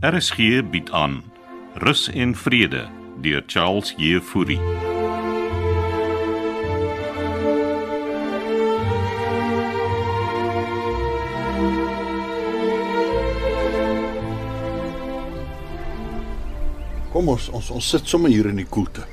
RSG bied aan Rus en Vrede deur Charles Jefouri. Kom ons ons ons sit sommer hier in die koelte.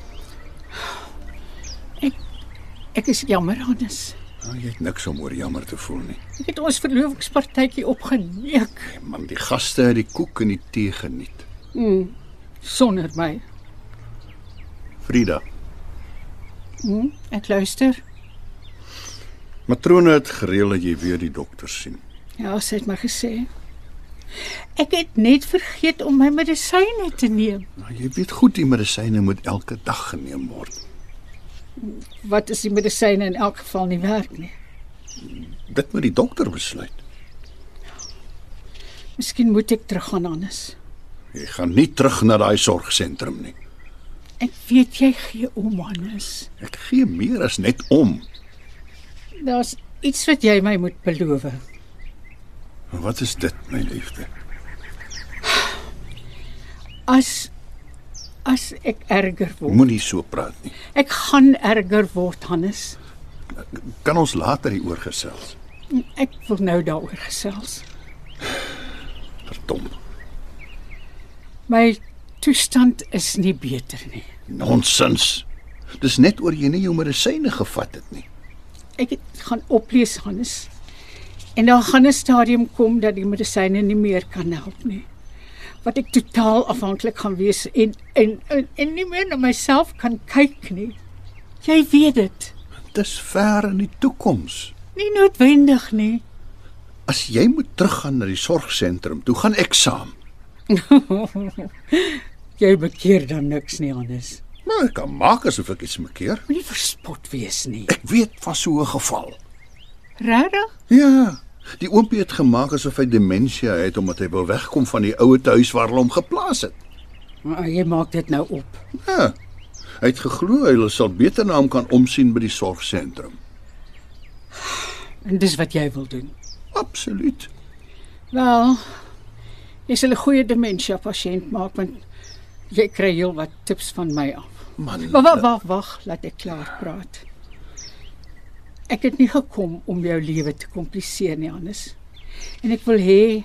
Ek is jammer, Hannes. Nou, jy het niks om oor jammer te voel nie. Ek het ons verlovingspartytjie opgeneek Hey, man, die gaste het die koek en die tee geniet. sonder my. Frida, Hm? Ek luister. matrone het gereël dat jy weer die dokter sien. Ja, sy het maar gesê. Ek het net vergeet om my medisyne te neem. Nou, jy weet goed die medisyne moet elke dag geneem word. Wat is die medisyne in elk geval nie werk nie. Dit moet die dokter besluit. Miskien moet ek teruggaan Hannes. Jy gaan nie terug na daai sorgsentrum nie. Ek weet jy gee om Hannes. Ek gee meer as net om. Daar's iets wat jy my moet beloof. En Wat is dit, my liefde? As as ek erger word. Moenie so praat nie. Ek gaan erger word Hannes. Kan ons later hieroor gesels? Ek wil nou daaroor gesels. Verdom. My toestand is nie beter nie. Nonsens. Dis net oor jy nie jou medisyne gevat het nie. Ek het gaan oplees Hannes. En daar gaan 'n stadium kom dat die medisyne nie meer kan help nie. Wat ek totaal afhanklik gaan wees en en en, en nie meer na myself kan kyk nie. Jy weet dit. Dis ver in die toekoms. Nie noodwendig nie. As jy moet teruggaan na die sorgsentrum, toe gaan ek saam. Jy bekeer dan niks nie Hannes. Maar ek kan maak asof ek iets mekeer. Moenie verspot wees nie. Ek weet van so 'n geval. Regtig? Ja, die oompie het gemaak asof hy demensie het omdat hy wil wegkom van die ouete huis waar hulle hom geplaas het. Maar jy maak dit nou op. Ja. Hy het geglo hulle sal beter na hom kan omsien by die sorgsentrum. En dis wat jy wil doen. Absoluut. Wel, jy sal 'n goeie demensie pasiënt maak want jy kry heelwat tips van my af. Man. Maar wag, wag, wag, laat ek klaar praat. Ek het nie gekom om jou lewe te kompliseer nie, Hannes. En ek wil hê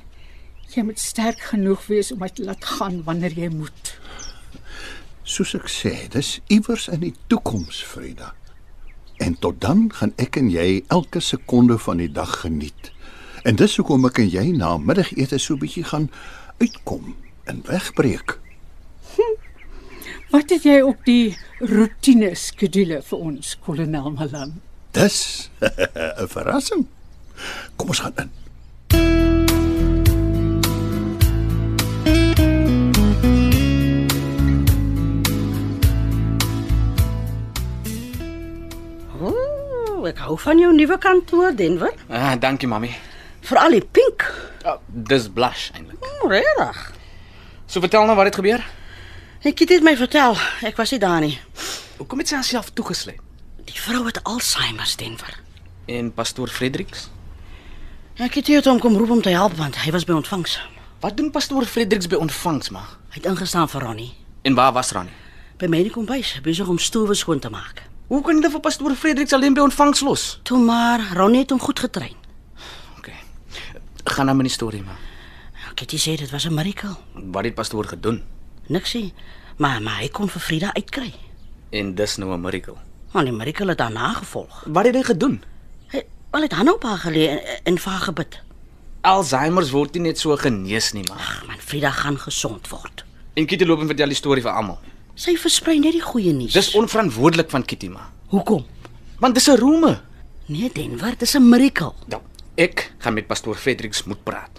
jy moet sterk genoeg wees om my te laat gaan wanneer jy moet. Soos ek sê, dis iewers in die toekoms, Frida. En tot dan gaan ek en jy elke sekonde van die dag geniet. En dis hoekom ek en jy na middagete so bietjie gaan uitkom en wegbreek. Wat het jy op die roetine skedule vir ons, kolonel Malan? Dis 'n verrassing. Kom ons gaan in. Ooh, ek hou van jou nuwe kantoor Denver, Ah, dankie mami. veral die pink. Ah, dis blush eintlik. Mm, Regtig. So vertel nou wat het gebeur? Ek het dit my vertel. Ek was nie daar nie. Hoekom het sy haarself toegesluit? Die vrou het Alzheimer Denver. En pastoor Fredericks? Ek het hier toe kom roep om te help want hy was by ontvangs. Wat doen pastoor Fredericks by ontvangs ma? Hy het ingestaan vir Ronnie En waar was Ronnie? by my in die kombuis besig om stoewe skoon te maak. Hoe kan hulle vir pastoor Fredericks alleen by ontvangs los? Toe maar Ronnie het hom goed getrein. OK. Gaan nou met die storie ma. Kitty sê dit was 'n mirakel. Wat het pastoor gedoen? Niks sê, maar maar hy kon vir Frida uitkry. En dis nou 'n mirakel. Maar die mirakel het daarna gevolg. Wat het hy gedoen? Hy wel het Hanna op haar gelê en, en vir haar gebid. Alzheimer's word nie net so genees nie ma. Ag man, Frida gaan gesond word. En Kitty loop en vertel die storie vir almal. Sy versprei net die goeie nuus. Dis onverantwoordelik van Kitty ma. hoekom? Want dis 'n roeme. Nee, Denver, dis 'n mirakel. Nou, ek gaan met pastoor Fredericks moet praat.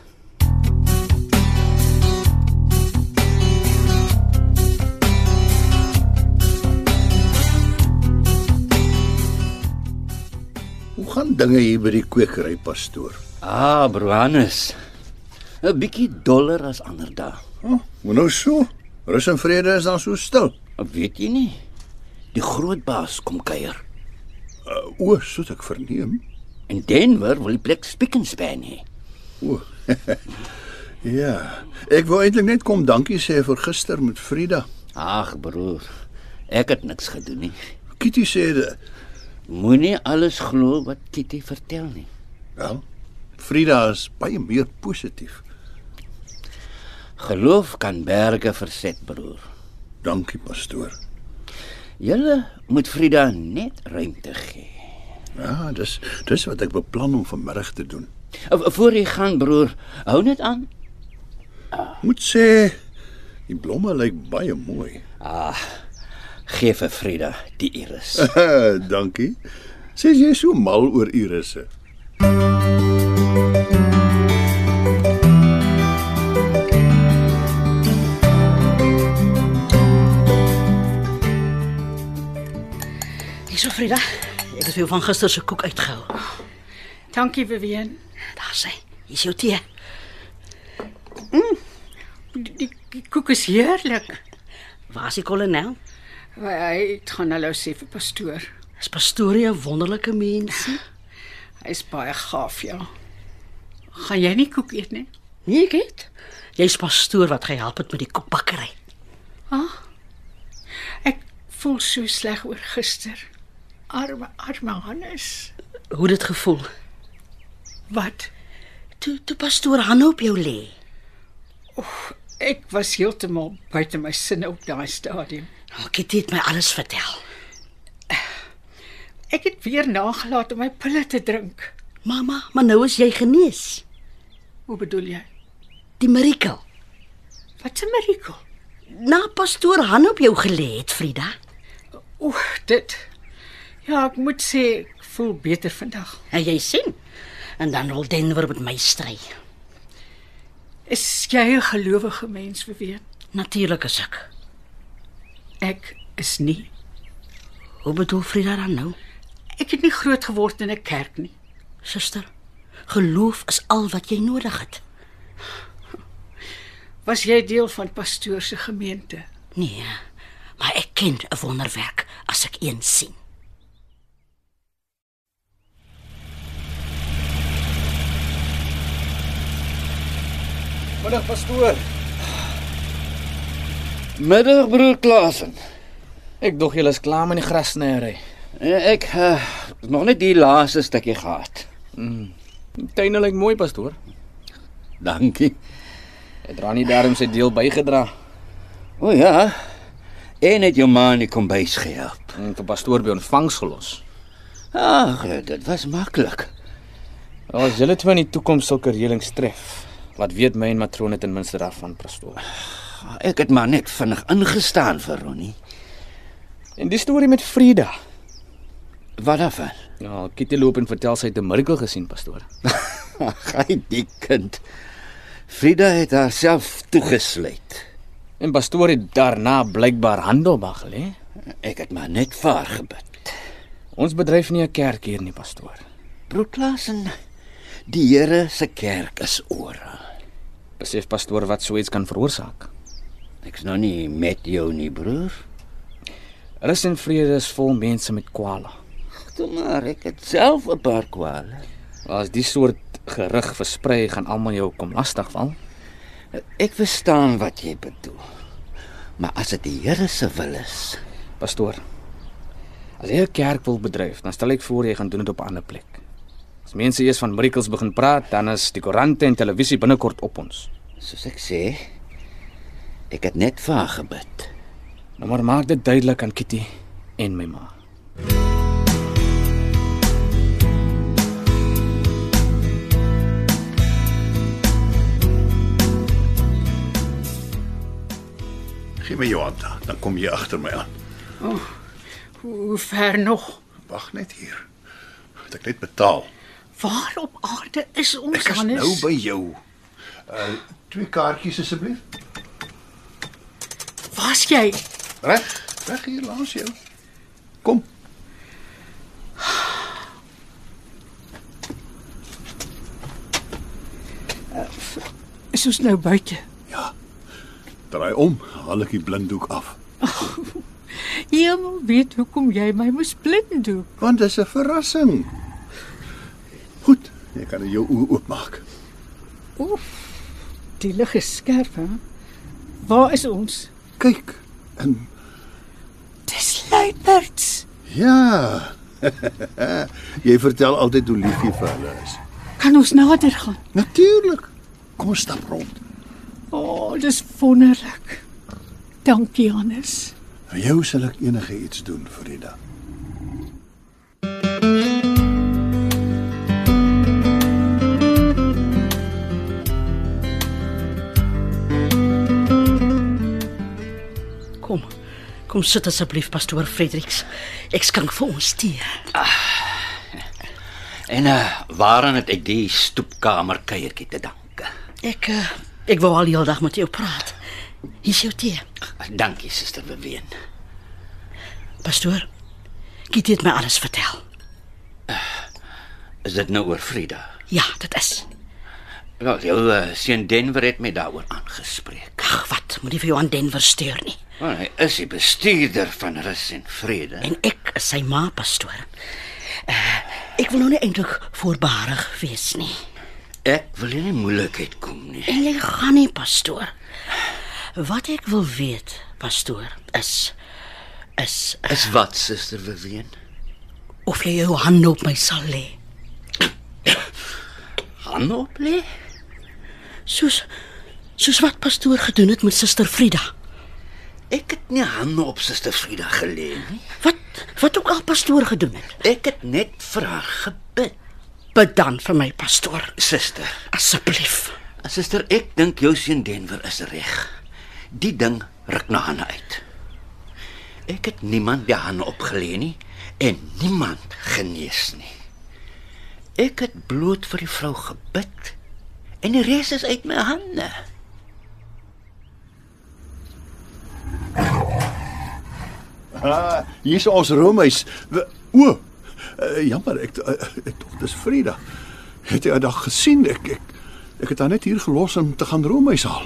Hoe gaan dinge hier by die kwekery pastoor? Ah, Broanus. 'n Bietjie doller as ander dae. Oh, Moet nou so. Rus en vrede is dan so stil. Weet jy nie? Die groot baas kom kuier. Uh, o, soos ek verneem. En Denver wil die plek spik en span hê. O. Ja, ek wou eintlik net kom dankie sê vir gister met Frida. Ag broer, ek het niks gedoen nie. Kitty sê de- Moenie alles glo wat Kitty vertel nie. wel, Ja. Frida is baie meer positief. Geloof kan berge verset, broer. Dankie pastoor. Julle moet Frida net ruimte gee. Ja, dis dis wat ek beplan om vanmiddag te doen. V- Voor jy gaan, broer, hou net aan. Moet sê die blomme lyk baie mooi. Gee vir Frida die iris. Dankie. Sê jy so mal oor irisse? Hierso Frida. Ek het vir jou van gister se koek uitgehou. Dankie Vivian. Daar sê. Hier's jou tee. Die, die, die koek is heerlik. Waar is die kolonel? Hy het gaan hulle sê vir pastoor. Is pastorie 'n wonderlike mens? Hy's baie gaaf, ja. Gaan jy nie koek eet nie? Nee, ek het. Jy's pastoor wat gehelp het met die koekbakkery. Ek voel so sleg oor gister. Arme arme Hannes. Hoe het dit gevoel? Wat? Toe toe pastoor hande op jou lê. Ek was heeltemal buite my sinne op daai stadium. Nou, Kitty het my alles vertel. Ek het weer nagelaat om my pille te drink. Mamma, maar nou is jy genees. Hoe bedoel jy? Die mirakel. Wat 'n mirakel. Na pastoor hande op jou gelê het, Frida. Oeg, dit. Ja, ek moet sê ek voel beter vandag. En jy sien. En dan wil Denver met my stry. Is jy 'n gelowige mens, Vivian? Natuurlik is ek. Ek is nie. Hoe bedoel Frida dan nou? Ek het nie groot geword in 'n kerk nie. Suster, geloof is al wat jy nodig het. Was jy deel van pastoor se gemeente? Nee, maar ek ken 'n wonderwerk as ek een sien. Middag pastoor. Eh, Middag broer Klasen. Ek dog julle is klaar met die grasnyery. Ek uh, nog net die laaste stukkie gehad. Die tuine lyk mooi pastoor. Dankie. Hy dra nie daarom sy deel bygedra. O ja. En het jou ma in die kombuis gehelp. En vir pastoor by ontvangs gelos. Ag, dit was maklik. As julle twee in die toekoms sulke reëlings tref, laat weet my en matrone ten minste daarvan pastoor. Ek het maar net vinnig ingestaan vir Ronnie. En die storie met Frida. Wat daarvan? Ja, Kitty loop en vertel sy het 'n mirakel gesien, pastoor. Ag, hy die kind. Frida het haarself toegesluit. En pastoor het daarna blykbaar handelbag gelê. Ek het maar net vaar gebid. Ons bedryf nie 'n kerk hier nie, pastoor. Broer Klasen, die Here se kerk is oral. Besef pastoor wat so iets kan veroorsaak. Ek's nou nie met jou nie, broer. Rus en vrede is vol mense met kwale. Toe maar, ek het self 'n paar kwale. As die soort gerug versprei, gaan almal jou kom lastigval. Ek verstaan wat jy bedoel. Maar as dit die Here se wil is, Pastoor. As jy 'n kerk wil bedryf, dan stel ek voor jy gaan doen dit op 'n ander plek. As mense eers van miracles begin praat, dan is die koerante en televisie binnekort op ons. soos ek sê, ek het net vaar gebid. Nou maar maak dit duidelik aan Kitty en my ma. Gee my jou hand, dan kom jy agter my aan. Hoe, hoe ver nog? Wag net hier. Het ek net betaal. Waar op aarde is ons Ek is Hannes? nou by jou. Uh twee kaartjies asseblief. Waar's jy? Reg, reg hier langs jou. Kom. Is ons nou buite? Ja. Draai om, haal ek die blinddoek af. Hemel Ja, weet hoekom jy my moes blind doen. Want dis 'n verrassing. Goed, jy kan jou oë oopmaak. Oef. Die lig is skerp, hè? Waar is ons? Kyk. En Dis luiperds. ja. jy vertel altyd hoe lief jy vir hulle is. Kan ons nader gaan? Natuurlik. Kom ons stap rond. O, oh, dis wonderlik. Dankie, Hannes. Vir jou sal ek enige iets doen, Frida. Kom. Kom sit asseblief pastoor Fredericks. Ek skank vir ons tee. En uh, waaraan het ek die stoepkamer kuiertjie te danke? Ek eh, ek wou al die hele dag met jou praat. Hier is jou tee. Dankie suster Beween. Pastoor, Kitty het my alles vertel. Is dit nou oor Frida? Ja, dit is. Wel, jou uh, seun Denver het my daaroor aangespreek. Ag, wat, moenie vir jou aan Denver steur nie. Want hy is die bestuurder van Rus en Vrede. En ek is sy ma, pastoor. Uh, ek wil nou nie eintlik voorbarig wees nie. Ek wil nie in moeilikheid kom nie. En jy gaan nie, pastoor. Wat ek wil weet, pastoor, is is Is wat suster Beween? of jy jou hand op my sal lê. Hand op lê? Soos soos wat pastoor gedoen het met suster Frida. Ek het nie hande op suster Frida gelê nie. Wat wat ook al pastoor gedoen het. Ek het net vir haar gebid. Bid dan vir my, pastoor, Suster, asseblief. suster, ek dink jou seun Denver is reg. Die ding ruk na hande uit. Ek het niemand die hande opgelê nie en niemand genees nie. Ek het bloot vir die vrou gebid en die res is uit my hande. Hier is ons roomhuis. We- O. Uh, jammer, ek eh, ek tog dis Frida. Het jy haar dag gesien? Ek ek ek het haar net hier gelos om te gaan roomhuis haal.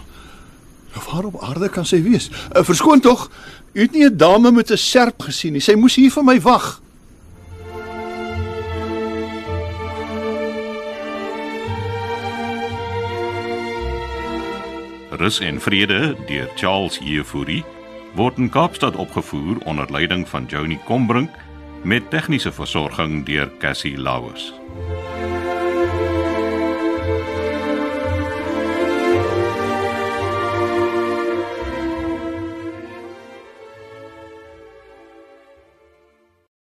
Of waar op aarde kan sy wees? Uh, verskoon tog. U het nie 'n dame met 'n serp gesien nie. Sy moes hier vir my wag. Rus en Vrede deur Charles Jefouri word in Kaapstad opgevoer onder leiding van Johnny Combrink met tegniese versorging deur Cassie Lauers.